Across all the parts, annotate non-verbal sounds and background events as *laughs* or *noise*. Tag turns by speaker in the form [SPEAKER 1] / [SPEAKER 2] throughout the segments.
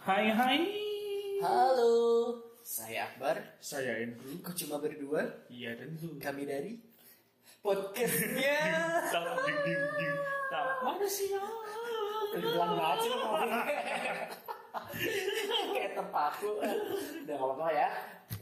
[SPEAKER 1] Hai hai.
[SPEAKER 2] Halo, saya Akbar. Hmm,
[SPEAKER 1] Saya Andrew.
[SPEAKER 2] Kok cuma berdua?
[SPEAKER 1] Iya dan itu.
[SPEAKER 2] Kami dari podcastnya.
[SPEAKER 1] Tak ding ding ding. Tak mana sih ya?
[SPEAKER 2] Kebetulan banget sih lo ngomongnya. Kayak terpaku. Udah gak apa-apa ya.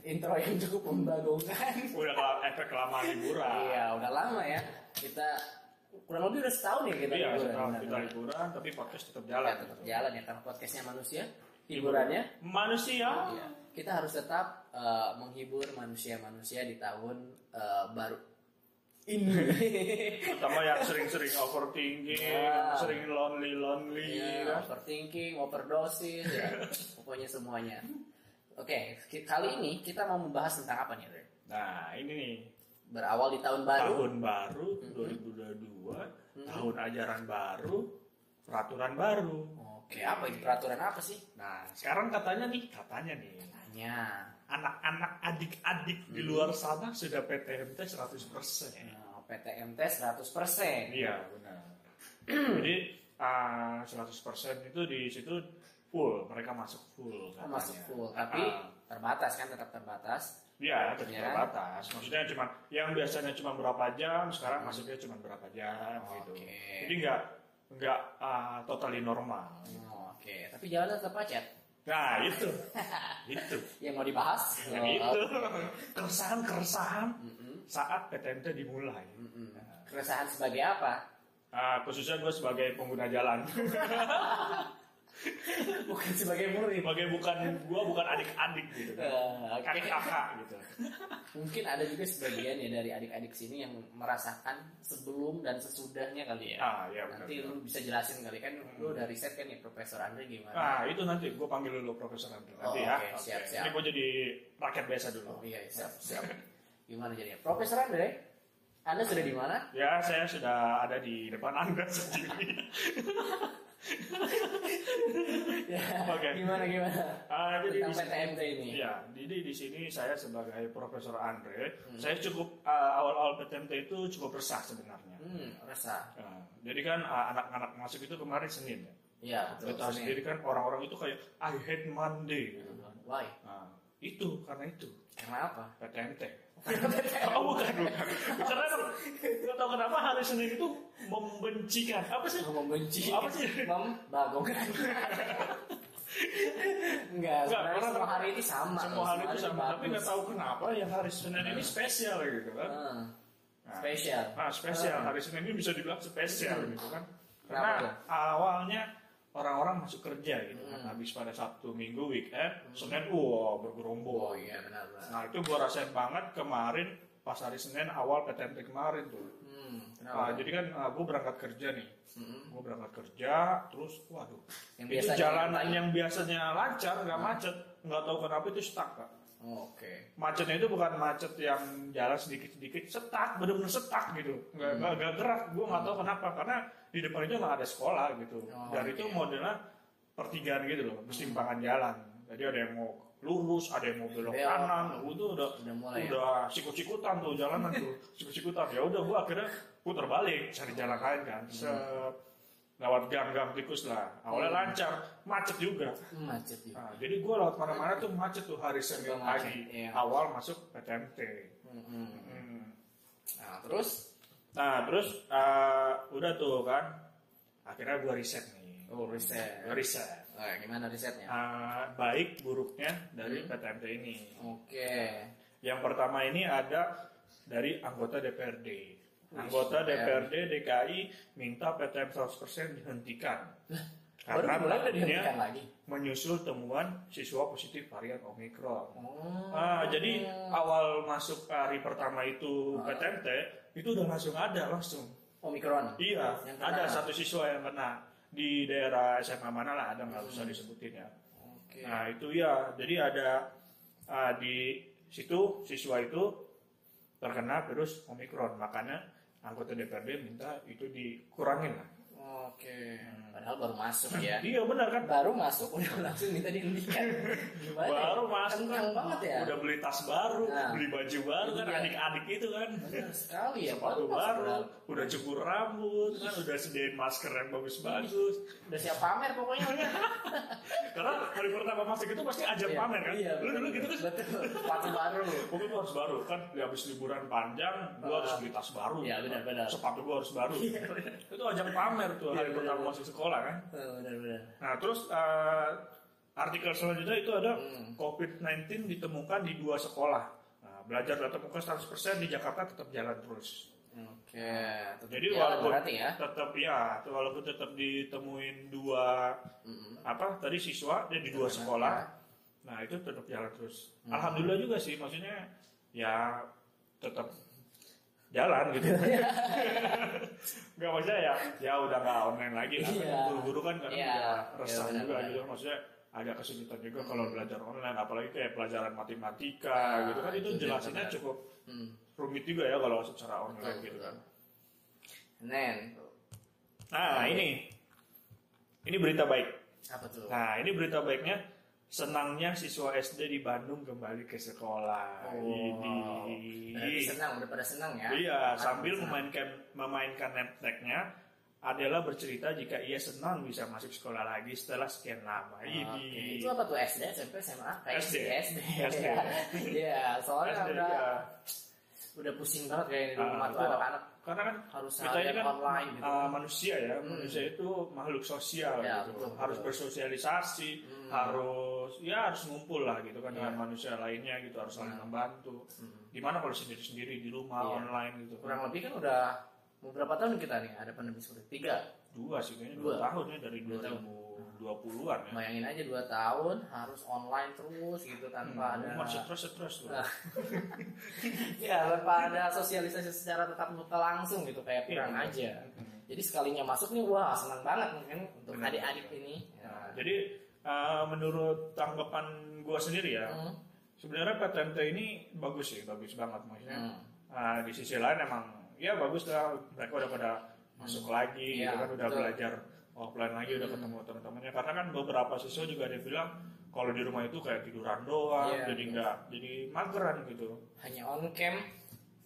[SPEAKER 2] Intro yang cukup membagongkan.
[SPEAKER 1] Udah kalau efek lama liburan.
[SPEAKER 2] Iya, udah lama ya. Kita kurang lebih udah setahun ya kita
[SPEAKER 1] Iya,
[SPEAKER 2] liburan.
[SPEAKER 1] setelah
[SPEAKER 2] Benar,
[SPEAKER 1] kita
[SPEAKER 2] benar.
[SPEAKER 1] liburan tapi podcast tetap
[SPEAKER 2] Ya,
[SPEAKER 1] jalan.
[SPEAKER 2] tetap jalan ya karena podcastnya manusia. Hiburannya.
[SPEAKER 1] Manusia.
[SPEAKER 2] Iya. Kita harus tetap eh, menghibur manusia-manusia di tahun eh, baru ini.
[SPEAKER 1] Terutama yang sering-sering overthinking,
[SPEAKER 2] Iya.
[SPEAKER 1] sering lonely lonely.
[SPEAKER 2] *laughs* Iya,
[SPEAKER 1] kan?
[SPEAKER 2] overthinking, overdosis, ya. pokoknya semuanya. Oke, ki- kali ini kita mau membahas tentang apa nih, Ren?
[SPEAKER 1] Nah ini nih
[SPEAKER 2] Berawal di tahun baru.
[SPEAKER 1] tahun baru 2022, tahun ajaran baru, peraturan baru.
[SPEAKER 2] Oke, apa ini peraturan apa sih?
[SPEAKER 1] Nah sekarang katanya nih katanya nih
[SPEAKER 2] Hanya
[SPEAKER 1] anak-anak adik-adik di luar sana sudah PTMT 100
[SPEAKER 2] eh, PTMT 100%.
[SPEAKER 1] Iya benar. Jadi ah, 100 itu di situ full, mereka masuk full.
[SPEAKER 2] Kita
[SPEAKER 1] katanya.
[SPEAKER 2] Oh, masuk full, tapi
[SPEAKER 1] Ah,
[SPEAKER 2] terbatas kan tetap terbatas.
[SPEAKER 1] Iya,
[SPEAKER 2] Iya.
[SPEAKER 1] ternyata terbatas. Maksudnya cuma yang biasanya cuma berapa jam, sekarang masuknya cuma berapa jam gitu.
[SPEAKER 2] Hmm. Oke.
[SPEAKER 1] Jadi nggak nggak ah, totally normal.
[SPEAKER 2] Oh, Oke, tapi jalan tetap macet.
[SPEAKER 1] Nah itu,
[SPEAKER 2] *laughs*
[SPEAKER 1] itu.
[SPEAKER 2] Yang mau dibahas?
[SPEAKER 1] Yang
[SPEAKER 2] Oh,
[SPEAKER 1] itu
[SPEAKER 2] oke.
[SPEAKER 1] keresahan-keresahan
[SPEAKER 2] Mm-mm.
[SPEAKER 1] saat PTMT dimulai.
[SPEAKER 2] Mm-mm. Keresahan sebagai apa? *laughs*
[SPEAKER 1] Ah, khususnya gue sebagai pengguna jalan, *laughs*
[SPEAKER 2] Bukan sebagai murid.
[SPEAKER 1] sebagai bukan gue bukan adik-adik gitu, kan.
[SPEAKER 2] Eh, oke.
[SPEAKER 1] kakak-kakak gitu.
[SPEAKER 2] *laughs* Mungkin ada juga sebagian ya dari adik-adik sini yang merasakan sebelum dan sesudahnya kali ya.
[SPEAKER 1] Ah ya benar.
[SPEAKER 2] Nanti lu bisa jelasin kali kan lu udah riset kan ya Profesor Andre gimana?
[SPEAKER 1] Ah itu nanti gue panggil dulu Profesor Andri
[SPEAKER 2] Oh,
[SPEAKER 1] nanti ya.
[SPEAKER 2] oke,
[SPEAKER 1] Oke.
[SPEAKER 2] siap, siap.
[SPEAKER 1] Ini gue jadi rakyat biasa dulu.
[SPEAKER 2] Oh iya, siap, siap. Gimana jadinya? Profesor Andre, Anda sudah di mana?
[SPEAKER 1] Ya saya sudah ada di depan anda *laughs* sendiri.
[SPEAKER 2] Ya,
[SPEAKER 1] *laughs* Oke.
[SPEAKER 2] Gimana gimana?
[SPEAKER 1] Ah, jadi di
[SPEAKER 2] Tentang
[SPEAKER 1] sini-
[SPEAKER 2] PTMT ini.
[SPEAKER 1] Iya, jadi di sini saya sebagai Profesor Andre,
[SPEAKER 2] Hmm.
[SPEAKER 1] saya cukup ah, awal-awal PTMT itu cukup resah sebenarnya.
[SPEAKER 2] Hmm, resah.
[SPEAKER 1] Nah, jadi kan ah, anak-anak masuk itu kemarin Senin ya.
[SPEAKER 2] Iya,
[SPEAKER 1] Lo
[SPEAKER 2] betul.
[SPEAKER 1] tahu
[SPEAKER 2] Senin.
[SPEAKER 1] sendiri kan orang-orang itu kayak I hate Monday gitu kan.
[SPEAKER 2] Why?
[SPEAKER 1] Nah, itu karena itu
[SPEAKER 2] Karena apa?
[SPEAKER 1] PTMT. oh bukan bukan. Karena kan, nggak tahu kenapa hari Senin itu membencikan apa sih?
[SPEAKER 2] Gua membenci.
[SPEAKER 1] Apa sih?
[SPEAKER 2] Membagongkan. Enggak,
[SPEAKER 1] Enggak,
[SPEAKER 2] sebenarnya
[SPEAKER 1] karena
[SPEAKER 2] semua hari ini sama.
[SPEAKER 1] Semua hari itu sama, tapi
[SPEAKER 2] bagus.
[SPEAKER 1] nggak tahu kenapa yang hari Senin ini spesial gitu kan.
[SPEAKER 2] Hmm,
[SPEAKER 1] Nah,
[SPEAKER 2] Spesial.
[SPEAKER 1] Nah, spesial
[SPEAKER 2] Hmm.
[SPEAKER 1] hari Senin ini bisa dibilang spesial gitu kan.
[SPEAKER 2] Kenapa
[SPEAKER 1] Karena
[SPEAKER 2] tuh? Hmm.
[SPEAKER 1] awalnya orang-orang masuk kerja gitu kan. Habis pada Sabtu Minggu weekend, Senin wow bergerombol.
[SPEAKER 2] Oh iya benar-benar.
[SPEAKER 1] Nah itu gue rasain banget kemarin pas hari Senin awal PTMT kemarin tuh.
[SPEAKER 2] Hmm,
[SPEAKER 1] Nah,
[SPEAKER 2] kenapa?
[SPEAKER 1] jadi kan gue berangkat kerja nih,
[SPEAKER 2] Mm-mm.
[SPEAKER 1] gue berangkat kerja, terus waduh,
[SPEAKER 2] Yang
[SPEAKER 1] itu
[SPEAKER 2] biasanya Nah.
[SPEAKER 1] jalanan
[SPEAKER 2] yang-
[SPEAKER 1] yang biasanya lancar nggak macet, nggak tahu kenapa itu stuck Pak.
[SPEAKER 2] Oh, Oke.
[SPEAKER 1] Macetnya itu bukan macet yang jalan sedikit-sedikit, setak, bener-bener setak gitu,
[SPEAKER 2] Hmm.
[SPEAKER 1] nggak nggak nggak gerak, gue nggak tahu kenapa, karena di depan itu nggak ada sekolah gitu,
[SPEAKER 2] Oh,
[SPEAKER 1] dan
[SPEAKER 2] oke.
[SPEAKER 1] itu modelnya pertigaan gitu loh, persimpangan jalan, jadi ada yang mau lurus, ada yang mau belok
[SPEAKER 2] Belok.
[SPEAKER 1] kanan, itu udah
[SPEAKER 2] Udah mulai ya.
[SPEAKER 1] udah sikut-sikutan tuh jalanan tuh *laughs* sikut-sikutan ya udah gua akhirnya putar balik cari jalan lain kan
[SPEAKER 2] Hmm.
[SPEAKER 1] Set. lewat gang-gang tikus lah awalnya lancar macet juga
[SPEAKER 2] Hmm, Macet juga.
[SPEAKER 1] Nah, jadi gua lewat mana-mana tuh macet tuh hari Senin
[SPEAKER 2] Serba macet,
[SPEAKER 1] pagi
[SPEAKER 2] iya.
[SPEAKER 1] awal masuk PTMT
[SPEAKER 2] Hmm, hmm.
[SPEAKER 1] Hmm.
[SPEAKER 2] Nah, terus
[SPEAKER 1] nah terus eh, udah tuh kan akhirnya gua riset nih
[SPEAKER 2] oh riset.
[SPEAKER 1] Gua riset
[SPEAKER 2] Nah, gimana risetnya?
[SPEAKER 1] Eh, baik buruknya
[SPEAKER 2] Hmm.
[SPEAKER 1] dari PTMT ini
[SPEAKER 2] Oke.
[SPEAKER 1] Yang pertama ini ada dari anggota DPRD. Anggota
[SPEAKER 2] DPRD.
[SPEAKER 1] DPRD DKI minta PTM 100% dihentikan.
[SPEAKER 2] Baru
[SPEAKER 1] Karena
[SPEAKER 2] mulai udah
[SPEAKER 1] takutnya
[SPEAKER 2] dihentikan lagi.
[SPEAKER 1] menyusul temuan siswa positif varian Omikron.
[SPEAKER 2] Oh.
[SPEAKER 1] Ah, jadi awal masuk hari pertama itu
[SPEAKER 2] Ah.
[SPEAKER 1] PTMT, itu udah langsung ada langsung.
[SPEAKER 2] Omikron.
[SPEAKER 1] Iya,
[SPEAKER 2] Yang
[SPEAKER 1] ada
[SPEAKER 2] kena.
[SPEAKER 1] satu siswa yang kena di daerah SMA mana lah, ada
[SPEAKER 2] Hmm.
[SPEAKER 1] nggak usah disebutin ya.
[SPEAKER 2] Oke.
[SPEAKER 1] Nah itu ya, jadi ada ah, di situ siswa itu terkena virus Omikron, makanya anggota DPRD minta itu dikurangin lah.
[SPEAKER 2] Oke.
[SPEAKER 1] Nah.
[SPEAKER 2] Padahal baru masuk ya.
[SPEAKER 1] Iya benar kan?
[SPEAKER 2] Baru masuk udah langsung minta dihentikan. Gimana? ya?
[SPEAKER 1] Baru masuk
[SPEAKER 2] Kencang
[SPEAKER 1] kan.
[SPEAKER 2] banget ya.
[SPEAKER 1] Udah beli tas baru,
[SPEAKER 2] Nah.
[SPEAKER 1] beli baju baru kan
[SPEAKER 2] Iya.
[SPEAKER 1] adik-adik itu kan.
[SPEAKER 2] Bener sekali ya.
[SPEAKER 1] Sepatu
[SPEAKER 2] masuk
[SPEAKER 1] baru,
[SPEAKER 2] padahal.
[SPEAKER 1] udah cukur rambut, kan udah sediain masker yang bagus-bagus.
[SPEAKER 2] Udah siap pamer pokoknya.
[SPEAKER 1] Iya, Karena hari pertama masuk itu pasti ajang
[SPEAKER 2] Iya.
[SPEAKER 1] pamer kan.
[SPEAKER 2] Iya.
[SPEAKER 1] Lu dulu gitu kan
[SPEAKER 2] Betul. Sepatu baru.
[SPEAKER 1] Mungkin gua harus baru kan, ya, habis liburan panjang, gua
[SPEAKER 2] Ah.
[SPEAKER 1] harus beli tas baru.
[SPEAKER 2] Iya, benar, benar.
[SPEAKER 1] Sepatu gua harus baru. itu ajang pamer tuh
[SPEAKER 2] Iya,
[SPEAKER 1] hari
[SPEAKER 2] benar,
[SPEAKER 1] pertama
[SPEAKER 2] benar.
[SPEAKER 1] masuk sekolah kan.
[SPEAKER 2] Oh, Benar-benar.
[SPEAKER 1] Nah terus eh, artikel selanjutnya itu ada
[SPEAKER 2] Hmm.
[SPEAKER 1] COVID-19 ditemukan di dua sekolah. Nah, belajar tatap muka 100% di Jakarta tetap jalan terus.
[SPEAKER 2] Oke. tetap
[SPEAKER 1] Jadi
[SPEAKER 2] jalan
[SPEAKER 1] walaupun
[SPEAKER 2] berarti ya.
[SPEAKER 1] tetap ya, walaupun tetap ditemuin dua
[SPEAKER 2] Mm-mm.
[SPEAKER 1] apa tadi siswa dia di dua
[SPEAKER 2] Tetap
[SPEAKER 1] sekolah.
[SPEAKER 2] ya.
[SPEAKER 1] Nah itu tetap jalan terus.
[SPEAKER 2] Hmm.
[SPEAKER 1] Alhamdulillah juga sih, maksudnya ya tetap jalan
[SPEAKER 2] *laughs*
[SPEAKER 1] gitu.
[SPEAKER 2] Iya.
[SPEAKER 1] Gak maksudnya ya, ya udah nggak online lagi lah.
[SPEAKER 2] Iya.
[SPEAKER 1] Guru-guru kan kadang
[SPEAKER 2] Iya.
[SPEAKER 1] udah resah
[SPEAKER 2] Iya,
[SPEAKER 1] juga
[SPEAKER 2] benar-benar.
[SPEAKER 1] gitu. Maksudnya agak kesulitan juga kalau belajar online, apalagi kayak pelajaran matematika
[SPEAKER 2] Ah,
[SPEAKER 1] gitu kan itu
[SPEAKER 2] itu dia,
[SPEAKER 1] jelasinnya
[SPEAKER 2] benar.
[SPEAKER 1] cukup
[SPEAKER 2] Hmm.
[SPEAKER 1] rumit juga ya kalau secara online
[SPEAKER 2] Betul,
[SPEAKER 1] gitu kan.
[SPEAKER 2] Nen.
[SPEAKER 1] Nah ini, ini berita baik.
[SPEAKER 2] Apa tuh?
[SPEAKER 1] Nah ini berita baiknya senangnya siswa SD di Bandung kembali ke sekolah.
[SPEAKER 2] Oh, Wow.
[SPEAKER 1] Ini.
[SPEAKER 2] Berarti senang, udah pada senang ya.
[SPEAKER 1] Iya,
[SPEAKER 2] Makan,
[SPEAKER 1] sambil
[SPEAKER 2] senang.
[SPEAKER 1] memainkan memainkan laptopnya, Adela bercerita jika ia senang bisa masuk sekolah lagi setelah sekian lama.
[SPEAKER 2] Ah, Oke,
[SPEAKER 1] Ini Kan
[SPEAKER 2] Itu apa tuh SD, SMP, SMA? Kayak
[SPEAKER 1] SD.
[SPEAKER 2] SD. SD.
[SPEAKER 1] SD.
[SPEAKER 2] ya. *laughs* Iya, soalnya
[SPEAKER 1] SD,
[SPEAKER 2] udah
[SPEAKER 1] iya.
[SPEAKER 2] udah pusing banget kayak di
[SPEAKER 1] Ah,
[SPEAKER 2] rumah tuh
[SPEAKER 1] betul.
[SPEAKER 2] anak-anak
[SPEAKER 1] karena kan
[SPEAKER 2] harus
[SPEAKER 1] kita ini
[SPEAKER 2] seharian
[SPEAKER 1] kan
[SPEAKER 2] online gitu.
[SPEAKER 1] uh, manusia ya,
[SPEAKER 2] Hmm.
[SPEAKER 1] manusia itu makhluk sosial
[SPEAKER 2] Ya,
[SPEAKER 1] gitu,
[SPEAKER 2] betul,
[SPEAKER 1] harus
[SPEAKER 2] betul.
[SPEAKER 1] bersosialisasi,
[SPEAKER 2] Hmm.
[SPEAKER 1] harus ya harus ngumpul lah gitu kan
[SPEAKER 2] Iya.
[SPEAKER 1] dengan manusia lainnya gitu harus saling
[SPEAKER 2] Hmm.
[SPEAKER 1] membantu.
[SPEAKER 2] Hmm.
[SPEAKER 1] Gimana kalau sendiri sendiri di rumah
[SPEAKER 2] Iya.
[SPEAKER 1] online gitu?
[SPEAKER 2] Kurang lebih kan udah mau berapa tahun kita nih ada pandemi seperti itu? tiga.
[SPEAKER 1] dua sih kayaknya dua,
[SPEAKER 2] Dua.
[SPEAKER 1] tahun ya dari
[SPEAKER 2] Dua tahun.
[SPEAKER 1] 2020 an ya.
[SPEAKER 2] Bayangin aja dua tahun harus online terus gitu tanpa ada
[SPEAKER 1] Umar stres stres tuh.
[SPEAKER 2] Nah, ya tanpa ada sosialisasi secara tetap muka langsung gitu kayak kurang
[SPEAKER 1] Iya.
[SPEAKER 2] aja. Jadi sekalinya masuk nih wah senang banget mungkin untuk
[SPEAKER 1] Benar.
[SPEAKER 2] adik-adik ini.
[SPEAKER 1] Nah, jadi eh, menurut tanggapan gua sendiri ya,
[SPEAKER 2] Hmm.
[SPEAKER 1] sebenarnya PTMT ini bagus sih, bagus banget maksudnya.
[SPEAKER 2] Hmm.
[SPEAKER 1] Eh, di sisi lain emang ya bagus lah mereka udah pada masuk lagi, gitu
[SPEAKER 2] Iya,
[SPEAKER 1] kan udah
[SPEAKER 2] betul. Hmm.
[SPEAKER 1] belajar offline lagi, udah ketemu teman-temannya. Karena kan beberapa siswa juga ada yang bilang kalau di rumah itu kayak tiduran doang,
[SPEAKER 2] Iya,
[SPEAKER 1] jadi
[SPEAKER 2] betul.
[SPEAKER 1] nggak, jadi mageran gitu.
[SPEAKER 2] Hanya on cam. *laughs*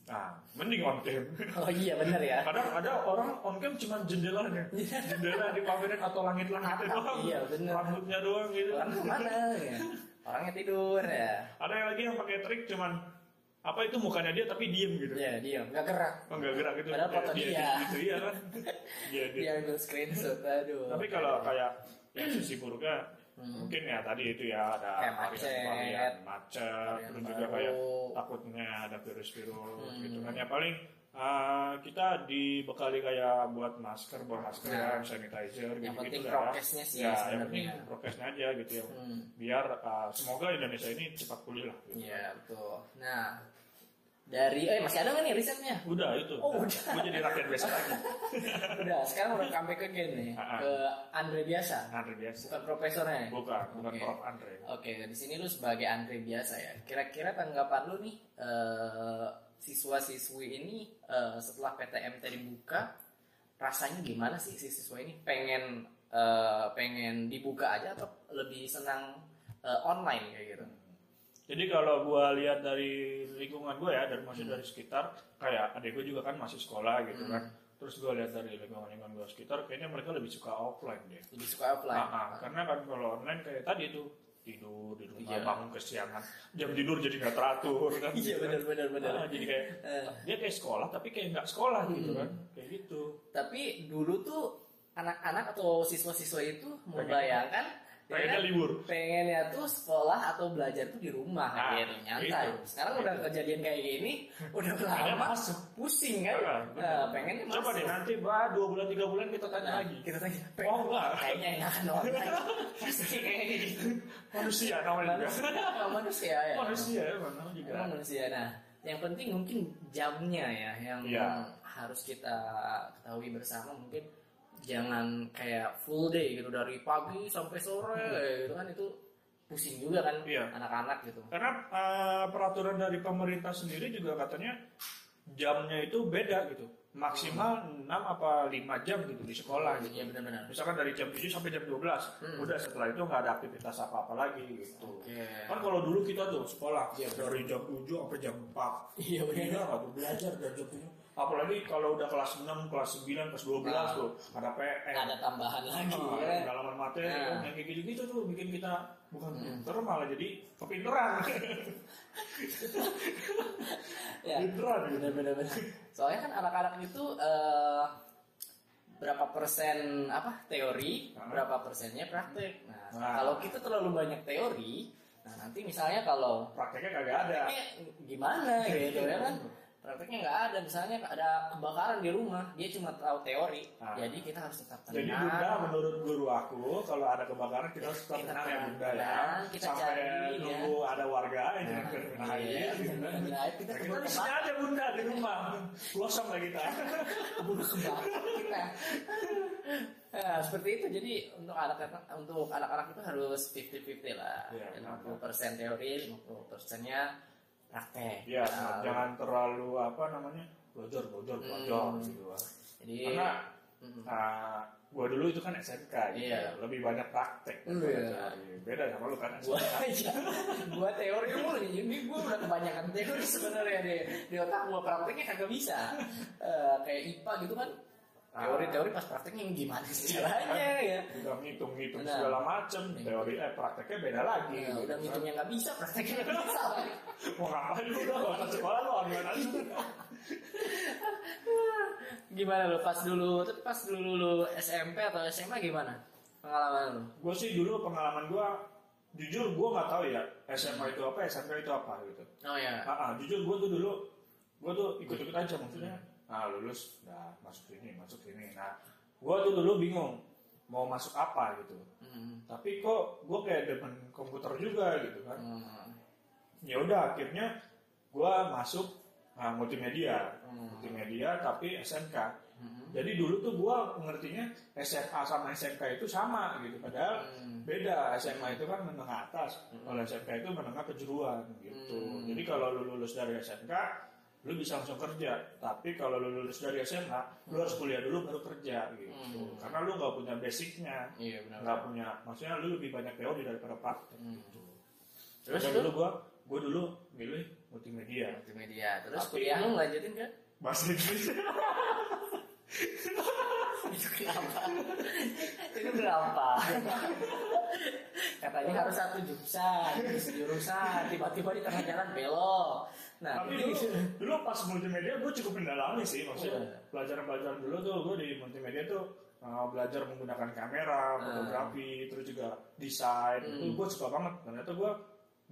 [SPEAKER 1] Nah, mending on cam. *laughs*
[SPEAKER 2] Oh iya bener ya.
[SPEAKER 1] Kadang ada orang on cam cuma jendelanya, jendela dipamerin atau langit-langitnya doang,
[SPEAKER 2] Iya, bener.
[SPEAKER 1] rambutnya doang gitu.
[SPEAKER 2] Orang kemana ya? Orangnya tidur ya.
[SPEAKER 1] Ada yang lagi yang pakai trik cuman apa itu mukanya dia tapi diem gitu,
[SPEAKER 2] Iya diam, nggak gerak.
[SPEAKER 1] oh, nggak gerak gitu.
[SPEAKER 2] Padahal foto
[SPEAKER 1] dia,
[SPEAKER 2] dia.
[SPEAKER 1] gitu iya
[SPEAKER 2] *laughs*
[SPEAKER 1] kan. Dia- dia.
[SPEAKER 2] Dia ambil screenshot, aduh.
[SPEAKER 1] Tapi kalau kayak yang sisi buruknya mungkin ya tadi itu ya ada
[SPEAKER 2] Hmm. Kayak
[SPEAKER 1] varian-varian macet,
[SPEAKER 2] Varian
[SPEAKER 1] terus juga
[SPEAKER 2] baru.
[SPEAKER 1] kayak takutnya ada virus-virus
[SPEAKER 2] Hmm.
[SPEAKER 1] gitu kan ya paling eh, kita dibekali kayak buat masker, bawa masker,
[SPEAKER 2] Nah.
[SPEAKER 1] hand sanitizer
[SPEAKER 2] yang
[SPEAKER 1] gitu
[SPEAKER 2] penting
[SPEAKER 1] gitu
[SPEAKER 2] prokesnya sih
[SPEAKER 1] ya, yang penting
[SPEAKER 2] sebenarnya.
[SPEAKER 1] prokesnya aja gitu ya.
[SPEAKER 2] Hmm,
[SPEAKER 1] Biar eh, semoga Indonesia ini cepat pulih lah. Gitu.
[SPEAKER 2] Iya betul. Nah dari eh masih ada nggak nih risetnya?
[SPEAKER 1] Udah itu.
[SPEAKER 2] Oh, udah.
[SPEAKER 1] Gue jadi rakyat biasa lagi.
[SPEAKER 2] Udah sekarang udah comeback ke Gen nih
[SPEAKER 1] Ah, ah.
[SPEAKER 2] ke Andre biasa,
[SPEAKER 1] Andre biasa.
[SPEAKER 2] bukan profesornya. ya?
[SPEAKER 1] Bukan, bukan
[SPEAKER 2] Oke.
[SPEAKER 1] Prof Andre.
[SPEAKER 2] Oke, di sini lu sebagai Andre biasa ya. Kira-kira tanggapan lu nih eh, siswa-siswi ini eh, setelah PTM tadi buka rasanya gimana sih si siswa ini pengen eh, pengen dibuka aja atau lebih senang eh, online kayak gitu?
[SPEAKER 1] Jadi kalau gue lihat dari lingkungan gue ya, dari masih
[SPEAKER 2] Hmm.
[SPEAKER 1] dari sekitar, kayak adik gue juga kan masih sekolah gitu kan.
[SPEAKER 2] Hmm.
[SPEAKER 1] Terus gue lihat dari lingkungan-lingkungan gue sekitar, kayaknya mereka lebih suka offline deh.
[SPEAKER 2] Lebih suka offline.
[SPEAKER 1] Ah, ah, karena kan kalau online kayak tadi tuh tidur di rumah,
[SPEAKER 2] Iya.
[SPEAKER 1] bangun kesiangan, jam tidur jadi nggak teratur kan.
[SPEAKER 2] Iya
[SPEAKER 1] gitu kan.
[SPEAKER 2] benar-benar benar.
[SPEAKER 1] Ah, jadi kayak
[SPEAKER 2] Eh,
[SPEAKER 1] dia kayak sekolah tapi kayak nggak sekolah gitu
[SPEAKER 2] Hmm.
[SPEAKER 1] kan, kayak gitu.
[SPEAKER 2] tapi dulu tuh anak-anak atau siswa-siswa itu membayangkan ya
[SPEAKER 1] Kayaknya
[SPEAKER 2] kan,
[SPEAKER 1] libur.
[SPEAKER 2] pengennya tuh sekolah atau belajar tuh di rumah
[SPEAKER 1] Nah,
[SPEAKER 2] gitu nyantai.
[SPEAKER 1] itu.
[SPEAKER 2] Sekarang udah kejadian kayak
[SPEAKER 1] *laughs*
[SPEAKER 2] gini, udah
[SPEAKER 1] Kayaknya
[SPEAKER 2] lama
[SPEAKER 1] masuk.
[SPEAKER 2] pusing kan?
[SPEAKER 1] Ah, bener.
[SPEAKER 2] Nah, pengennya
[SPEAKER 1] Coba
[SPEAKER 2] masuk.
[SPEAKER 1] deh nanti bah dua bulan tiga bulan kita tanya
[SPEAKER 2] Nah,
[SPEAKER 1] lagi.
[SPEAKER 2] kita tanya.
[SPEAKER 1] Oh enggak,
[SPEAKER 2] Kayaknya enakan
[SPEAKER 1] *laughs*
[SPEAKER 2] online. Pasti kayak gitu.
[SPEAKER 1] manusia namanya juga.
[SPEAKER 2] Manusia, manusia ya.
[SPEAKER 1] Manusia ya, namanya juga.
[SPEAKER 2] Emang manusia. Nah, yang penting mungkin jamnya ya yang
[SPEAKER 1] Iya.
[SPEAKER 2] harus kita ketahui bersama mungkin jangan kayak full day gitu dari pagi sampai sore gitu kan itu pusing juga kan
[SPEAKER 1] Iya.
[SPEAKER 2] anak-anak gitu.
[SPEAKER 1] Karena eh, peraturan dari pemerintah sendiri juga katanya jamnya itu beda gitu maksimal 6 apa 5 jam gitu di sekolah gitu
[SPEAKER 2] Iya benar-benar.
[SPEAKER 1] misalkan dari jam 7 sampai jam 12
[SPEAKER 2] Hmm.
[SPEAKER 1] udah setelah itu nggak ada aktivitas apa-apa lagi gitu
[SPEAKER 2] Oke.
[SPEAKER 1] kan kalau dulu kita tuh sekolah
[SPEAKER 2] Iya, benar.
[SPEAKER 1] dari jam 7 sampai jam 4
[SPEAKER 2] Iya
[SPEAKER 1] Iya, nggak tuh, belajar dari jam 7 apalagi kalau udah kelas 6, kelas 9, kelas 12
[SPEAKER 2] Nah.
[SPEAKER 1] tuh ada PM
[SPEAKER 2] Ada tambahan lagi
[SPEAKER 1] Ah,
[SPEAKER 2] ya.
[SPEAKER 1] pendalaman materi
[SPEAKER 2] Nah. Hmm.
[SPEAKER 1] kan, yang kayak gitu-gitu tuh bikin kita bukan pinter malah jadi
[SPEAKER 2] *laughs*
[SPEAKER 1] kepinteran
[SPEAKER 2] Iya. Ya.
[SPEAKER 1] pinteran gitu
[SPEAKER 2] Benar-benar. Soalnya kan anak-anak itu eh, berapa persen apa teori,
[SPEAKER 1] Ah.
[SPEAKER 2] berapa persennya praktek. Nah,
[SPEAKER 1] Ah.
[SPEAKER 2] kalau kita terlalu banyak teori, nah nanti misalnya kalau
[SPEAKER 1] prakteknya kagak ada
[SPEAKER 2] prakteknya gimana gitu ya kan? Prakteknya nggak ada, misalnya ada kebakaran di rumah, dia cuma tahu teori.
[SPEAKER 1] Ah.
[SPEAKER 2] Jadi kita harus tetap tenang.
[SPEAKER 1] jadi bunda menurut guru aku kalau ada kebakaran kita harus tetap
[SPEAKER 2] Kita
[SPEAKER 1] tenang ya
[SPEAKER 2] tenang,
[SPEAKER 1] bunda ya
[SPEAKER 2] tenang, kita
[SPEAKER 1] sampai
[SPEAKER 2] cari, ya.
[SPEAKER 1] nunggu ada warga aja yang kena air
[SPEAKER 2] Nah, Iya,
[SPEAKER 1] gitu kan.
[SPEAKER 2] benar-benar. kita
[SPEAKER 1] Nah, kita
[SPEAKER 2] keburu
[SPEAKER 1] di sini
[SPEAKER 2] kebakar,
[SPEAKER 1] aja bunda di rumah pelosok lah
[SPEAKER 2] *laughs*
[SPEAKER 1] kita
[SPEAKER 2] keburu kebakar kita. Nah, seperti itu. Jadi untuk anak-anak untuk anak-anak itu harus 50-50 lah.
[SPEAKER 1] Iya,
[SPEAKER 2] 50% teori, 50%-nya praktek.
[SPEAKER 1] ya
[SPEAKER 2] Nah,
[SPEAKER 1] jangan terlalu apa namanya belajar belajar
[SPEAKER 2] Hmm.
[SPEAKER 1] belajar gitu kan.
[SPEAKER 2] Jadi
[SPEAKER 1] karena
[SPEAKER 2] Mm.
[SPEAKER 1] Nah, gua dulu itu kan SMK, gitu.
[SPEAKER 2] Iya.
[SPEAKER 1] lebih banyak praktek. kan
[SPEAKER 2] Iya.
[SPEAKER 1] daripada teori. Beda sama lu kan.
[SPEAKER 2] gua aja gua teori mulu nih. ini gua udah kebanyakan teori sebenarnya di, di otak gua prakteknya kagak bisa Eh, kayak IPA gitu kan teori-teori pas prakteknya gimana sih *laughs* caranya ya
[SPEAKER 1] Udah ngitung-ngitung
[SPEAKER 2] Benar.
[SPEAKER 1] segala macem,
[SPEAKER 2] Iya.
[SPEAKER 1] teori eh prakteknya beda lagi.
[SPEAKER 2] Nah, udah ngitungnya nggak bisa prakteknya nggak bisa
[SPEAKER 1] Mau ngapain lu udah kalau sekolah lu online aja.
[SPEAKER 2] gimana lu pas dulu tapi pas dulu lu SMP atau SMA gimana pengalaman lu
[SPEAKER 1] Gua sih dulu pengalaman gua jujur gua nggak tahu ya SMA itu apa, SMK itu apa gitu.
[SPEAKER 2] oh ya
[SPEAKER 1] Ah, ah, jujur gue tuh dulu gue tuh ikut-ikut aja maksudnya nah lulus nah masuk ini masuk ini nah gue tuh dulu bingung mau masuk apa gitu
[SPEAKER 2] Hmm.
[SPEAKER 1] tapi kok gue kayak demen komputer juga gitu kan
[SPEAKER 2] Hmm.
[SPEAKER 1] ya udah akhirnya gue masuk nah, multimedia
[SPEAKER 2] Hmm.
[SPEAKER 1] multimedia tapi SMK
[SPEAKER 2] Hmm.
[SPEAKER 1] jadi dulu tuh gue ngertinya SMA sama SMK itu sama gitu padahal
[SPEAKER 2] Hmm.
[SPEAKER 1] beda SMA itu kan menengah atas kalau SMK itu menengah kejuruan gitu
[SPEAKER 2] Hmm.
[SPEAKER 1] jadi kalau lu lulus dari SMK lu bisa langsung kerja tapi kalau lu lulus dari SMA lu harus kuliah dulu baru kerja gitu
[SPEAKER 2] Hmm.
[SPEAKER 1] karena lu nggak punya basicnya
[SPEAKER 2] iya benar
[SPEAKER 1] nggak punya maksudnya lu lebih banyak teori daripada praktek
[SPEAKER 2] Hmm.
[SPEAKER 1] gitu
[SPEAKER 2] Terus
[SPEAKER 1] Jadi
[SPEAKER 2] lu?
[SPEAKER 1] dulu gua gua dulu milih multimedia
[SPEAKER 2] multimedia terus
[SPEAKER 1] Tapi-
[SPEAKER 2] kuliah lu lanjutin kan
[SPEAKER 1] bahasa Inggris
[SPEAKER 2] itu kenapa? itu kenapa? Katanya harus satu jurusan, terus jurusan, tiba-tiba di tengah jalan belok. Nah,
[SPEAKER 1] Tapi
[SPEAKER 2] ini-
[SPEAKER 1] dulu, dulu pas multimedia gue cukup mendalami sih maksudnya
[SPEAKER 2] Iya.
[SPEAKER 1] pelajaran-pelajaran dulu tuh gue di multimedia tuh uh, belajar menggunakan
[SPEAKER 2] Ah.
[SPEAKER 1] kamera, fotografi, terus juga desain.
[SPEAKER 2] Hmm.
[SPEAKER 1] Itu gue suka banget. Ternyata gue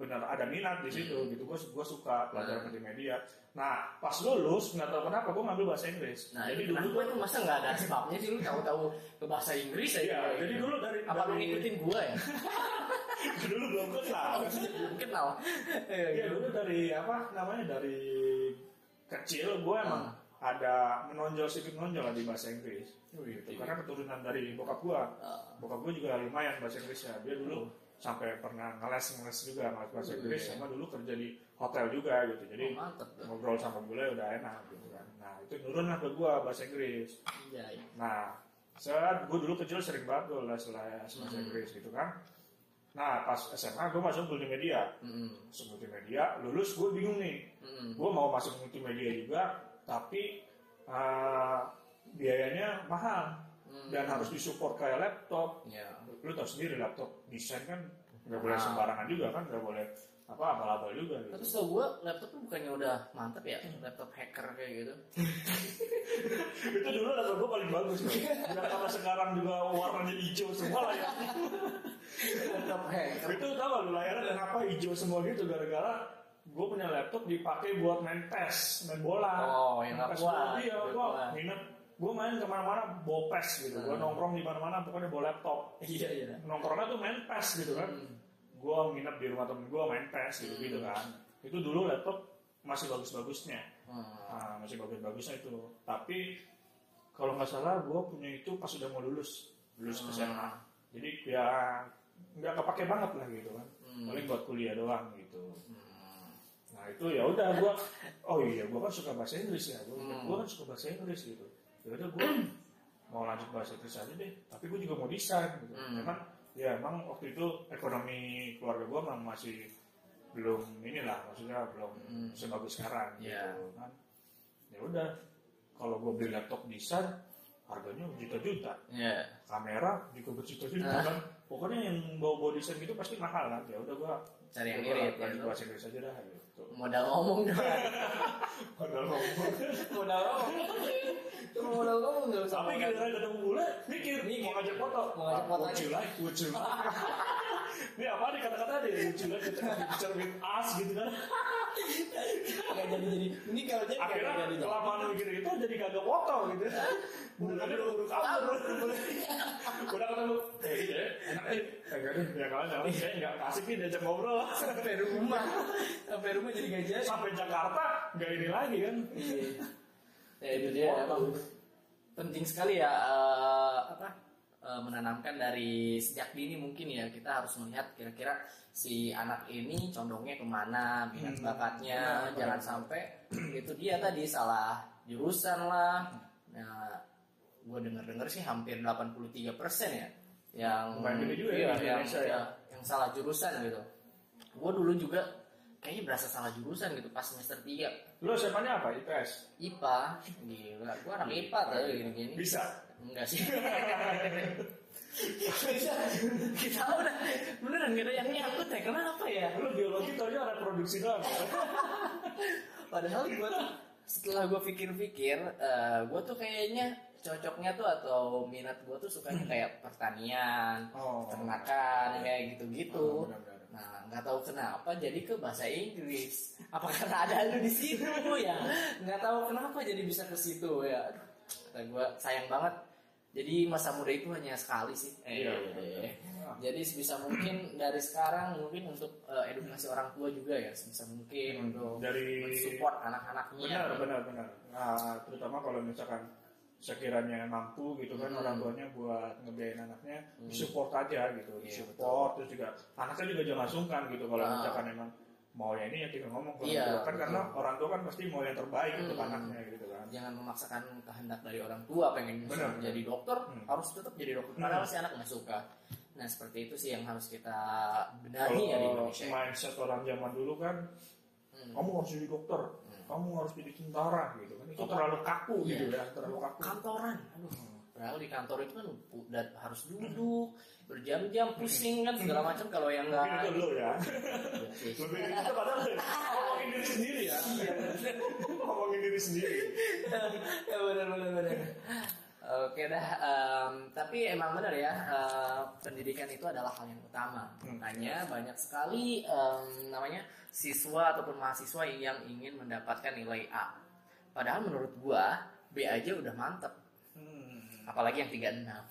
[SPEAKER 1] benar ada minat di situ
[SPEAKER 2] Hmm.
[SPEAKER 1] gitu. Gue gue suka
[SPEAKER 2] Ah.
[SPEAKER 1] belajar multimedia. Nah pas lulus nggak tahu kenapa gue ngambil bahasa Inggris.
[SPEAKER 2] nah,
[SPEAKER 1] jadi
[SPEAKER 2] jadi
[SPEAKER 1] dulu
[SPEAKER 2] dulu
[SPEAKER 1] tuh
[SPEAKER 2] tuh masa nggak ada sebabnya sih lu tahu-tahu ke bahasa Inggris aja.
[SPEAKER 1] Iya, jadi dulu dari-
[SPEAKER 2] apa lu
[SPEAKER 1] dari-
[SPEAKER 2] ngikutin Oh, gua ya?
[SPEAKER 1] *laughs* dulu belum kenal.
[SPEAKER 2] Belum kenal. Iya,
[SPEAKER 1] Iya
[SPEAKER 2] gitu.
[SPEAKER 1] dulu dari apa namanya dari kecil gue emang ada menonjol sedikit menonjol lah di bahasa Inggris.
[SPEAKER 2] Oh, iya,
[SPEAKER 1] Gitu. Karena keturunan dari bokap gue.
[SPEAKER 2] Ah.
[SPEAKER 1] Bokap gue juga lumayan bahasa Inggrisnya. Dia dulu sampai pernah ngeles-ngeles juga ngeles bahasa
[SPEAKER 2] Wih.
[SPEAKER 1] Inggris sama dulu kerja di hotel juga gitu. Jadi
[SPEAKER 2] Oh, mantep tuh.
[SPEAKER 1] ngobrol sama gue udah enak gitu kan. Nah, itu nurun lah ke gue bahasa Inggris.
[SPEAKER 2] Iya, iya.
[SPEAKER 1] Nah, saat gue dulu kecil sering banget gue les les bahasa Inggris gitu kan. Nah, pas SMA gue masuk multimedia.
[SPEAKER 2] Mm-mm.
[SPEAKER 1] Masuk multimedia, lulus gue bingung nih.
[SPEAKER 2] Mm-mm.
[SPEAKER 1] Gue mau masuk multimedia juga, tapi eh, biayanya mahal. Dan harus disupport kayak laptop,
[SPEAKER 2] hmm. Iya.
[SPEAKER 1] lu tau sendiri laptop desain kan nggak boleh
[SPEAKER 2] Ah.
[SPEAKER 1] sembarangan juga kan nggak boleh apa abal-abal juga gitu.
[SPEAKER 2] Terus tau gua laptop tuh bukannya udah mantep ya? Laptop hacker kayak gitu.
[SPEAKER 1] itu dulu laptop gua paling bagus loh
[SPEAKER 2] *laughs*
[SPEAKER 1] Udah karena sekarang juga warnanya hijau semua lah ya
[SPEAKER 2] laptop hacker.
[SPEAKER 1] itu tau gak lu layarnya kenapa hijau semua gitu gara-gara gue punya laptop dipakai buat main tes main bola
[SPEAKER 2] Oh,
[SPEAKER 1] Main
[SPEAKER 2] yang nggak
[SPEAKER 1] tes
[SPEAKER 2] kuat,
[SPEAKER 1] bola, iya
[SPEAKER 2] nggak
[SPEAKER 1] gue
[SPEAKER 2] kuat.
[SPEAKER 1] minat gue main kemana-mana bopes gitu gue nongkrong di mana-mana pokoknya bawa laptop
[SPEAKER 2] Iya, iya.
[SPEAKER 1] nongkrongnya tuh main PES gitu kan gue nginep di rumah temen gue main PES gitu gitu kan itu dulu laptop masih bagus-bagusnya
[SPEAKER 2] Hmm.
[SPEAKER 1] Ah, masih bagus-bagusnya itu tapi kalau nggak salah gue punya itu pas udah mau lulus lulus ke SMA jadi ya
[SPEAKER 2] Hmm.
[SPEAKER 1] nggak kepake banget lah gitu kan paling buat kuliah doang gitu nah itu ya udah gue oh iya gue kan suka bahasa Inggris ya gue
[SPEAKER 2] Hmm.
[SPEAKER 1] kan suka bahasa Inggris gitu ya udah gue *clears throat* mau lanjut bahasa Inggris aja deh tapi gue juga mau desain gitu
[SPEAKER 2] Hmm.
[SPEAKER 1] Memang, ya emang waktu itu ekonomi keluarga gue emang masih belum inilah maksudnya belum
[SPEAKER 2] Hmm.
[SPEAKER 1] sebagus sekarang
[SPEAKER 2] Iya.
[SPEAKER 1] gitu kan ya udah kalau gue beli laptop desain harganya juta-juta
[SPEAKER 2] ya
[SPEAKER 1] kamera juga berjuta-juta
[SPEAKER 2] Ah.
[SPEAKER 1] kan pokoknya yang bawa bawa desain gitu pasti mahal kan ya udah gue
[SPEAKER 2] cari yang
[SPEAKER 1] Gua
[SPEAKER 2] irit ya
[SPEAKER 1] lanjut
[SPEAKER 2] lu.
[SPEAKER 1] bahasa Inggris aja dah gitu
[SPEAKER 2] modal ngomong doang
[SPEAKER 1] padahal ngomong
[SPEAKER 2] modal ngomong Cuma modal ngomong nggak usah
[SPEAKER 1] sampai
[SPEAKER 2] modal.
[SPEAKER 1] gara-gara ketemu bule mikir
[SPEAKER 2] Mikir.
[SPEAKER 1] mau ngajak foto
[SPEAKER 2] Mau ngajak foto
[SPEAKER 1] lucu lah lucu *laughs* ini apa nih kata-kata deh lucu lah kita bicara with us gitu kan
[SPEAKER 2] Nggak jadi jadi ini kalau
[SPEAKER 1] Iya,
[SPEAKER 2] jadi nggak
[SPEAKER 1] akhirnya
[SPEAKER 2] jadi jadi
[SPEAKER 1] kelamaan mikir itu jadi kagak foto gitu bulannya udah urut kabur udah ketemu eh gitu ya enak nih Eh. kagak deh ya kawan kawan saya nggak kasih nih diajak ngobrol
[SPEAKER 2] *laughs* sampai rumah sampai rumah jadi nggak jadi
[SPEAKER 1] sampai Jakarta nggak ini lagi kan
[SPEAKER 2] ya itu dia
[SPEAKER 1] Oh,
[SPEAKER 2] emang penting sekali ya eh, apa eh, menanamkan dari sejak dini mungkin ya kita harus melihat kira-kira si anak ini condongnya kemana minat
[SPEAKER 1] Hmm,
[SPEAKER 2] bakatnya
[SPEAKER 1] benar,
[SPEAKER 2] jangan
[SPEAKER 1] benar.
[SPEAKER 2] sampai *clears throat* itu dia tadi salah jurusan lah nah gue denger-denger sih hampir 83% ya yang
[SPEAKER 1] Lumayan gede juga ya di
[SPEAKER 2] iya, yang,
[SPEAKER 1] Indonesia ya.
[SPEAKER 2] ya, yang salah jurusan gitu gue dulu juga kayaknya berasa salah jurusan gitu pas semester 3
[SPEAKER 1] lo siapa nya apa IPS
[SPEAKER 2] IPA gila gua anak IPA tau gini-gini
[SPEAKER 1] bisa
[SPEAKER 2] enggak sih *laughs* kita, kita udah beneran gitu yang nyangkut ya kenapa ya
[SPEAKER 1] Lu biologi taunya ada produksi doang.
[SPEAKER 2] padahal gua tuh setelah gua pikir-pikir eh, gua tuh kayaknya cocoknya tuh atau minat gua tuh sukanya kayak pertanian
[SPEAKER 1] Oh.
[SPEAKER 2] peternakan kayak gitu-gitu
[SPEAKER 1] Oh, benar-benar.
[SPEAKER 2] Nah, nggak tahu kenapa jadi ke bahasa Inggris. Apa karena ada lu di situ
[SPEAKER 1] Gitu
[SPEAKER 2] ya? Nggak tahu kenapa jadi bisa ke situ ya. Aduh, kata gua sayang banget. Jadi masa muda itu hanya sekali sih. Eh,
[SPEAKER 1] Iya.
[SPEAKER 2] eh. Jadi sebisa mungkin dari sekarang mungkin untuk eh, edukasi orang tua juga ya sebisa mungkin untuk Iya.
[SPEAKER 1] Dari-
[SPEAKER 2] support anak-anaknya.
[SPEAKER 1] Hmm. Benar, benar, benar. Nah, terutama kalau misalkan sekiranya mampu gitu kan
[SPEAKER 2] Hmm.
[SPEAKER 1] orang tuanya buat ngebiayain anaknya
[SPEAKER 2] Hmm.
[SPEAKER 1] disupport aja gitu
[SPEAKER 2] Iya,
[SPEAKER 1] disupport terus juga anaknya juga jangan sungkan gitu kalau
[SPEAKER 2] Ah.
[SPEAKER 1] misalkan emang mau ya ini ya tinggal ngomong ke
[SPEAKER 2] Iya,
[SPEAKER 1] orang tua kan karena
[SPEAKER 2] betul.
[SPEAKER 1] orang tua kan pasti mau yang terbaik untuk
[SPEAKER 2] Hmm.
[SPEAKER 1] anaknya gitu kan
[SPEAKER 2] Jangan memaksakan kehendak dari orang tua pengen
[SPEAKER 1] Benar, benar.
[SPEAKER 2] jadi dokter
[SPEAKER 1] Hmm.
[SPEAKER 2] harus tetap jadi dokter padahal si anak nggak suka. Nah seperti itu sih yang harus kita
[SPEAKER 1] Oh,
[SPEAKER 2] benahi ya di
[SPEAKER 1] kalau
[SPEAKER 2] Indonesia.
[SPEAKER 1] mindset orang zaman dulu kan
[SPEAKER 2] Hmm.
[SPEAKER 1] kamu harus jadi dokter kamu harus jadi tentara gitu kan itu
[SPEAKER 2] Iya.
[SPEAKER 1] terlalu kaku gitu
[SPEAKER 2] Iya.
[SPEAKER 1] ya terlalu kaku
[SPEAKER 2] kantoran aduh padahal di kantor itu kan pu- dan harus duduk berjam-jam pusing kan segala macam kalau yang nggak
[SPEAKER 1] mungkin itu lo ya
[SPEAKER 2] Iya,
[SPEAKER 1] lebih itu padahal ngomongin diri sendiri ya ngomongin diri sendiri
[SPEAKER 2] ya benar benar benar oke dah em, tapi emang benar ya eh, pendidikan itu adalah hal yang utama
[SPEAKER 1] Hmm.
[SPEAKER 2] makanya banyak sekali em, namanya siswa ataupun mahasiswa yang ingin mendapatkan nilai A padahal menurut gua B aja udah mantep Hmm. apalagi yang 36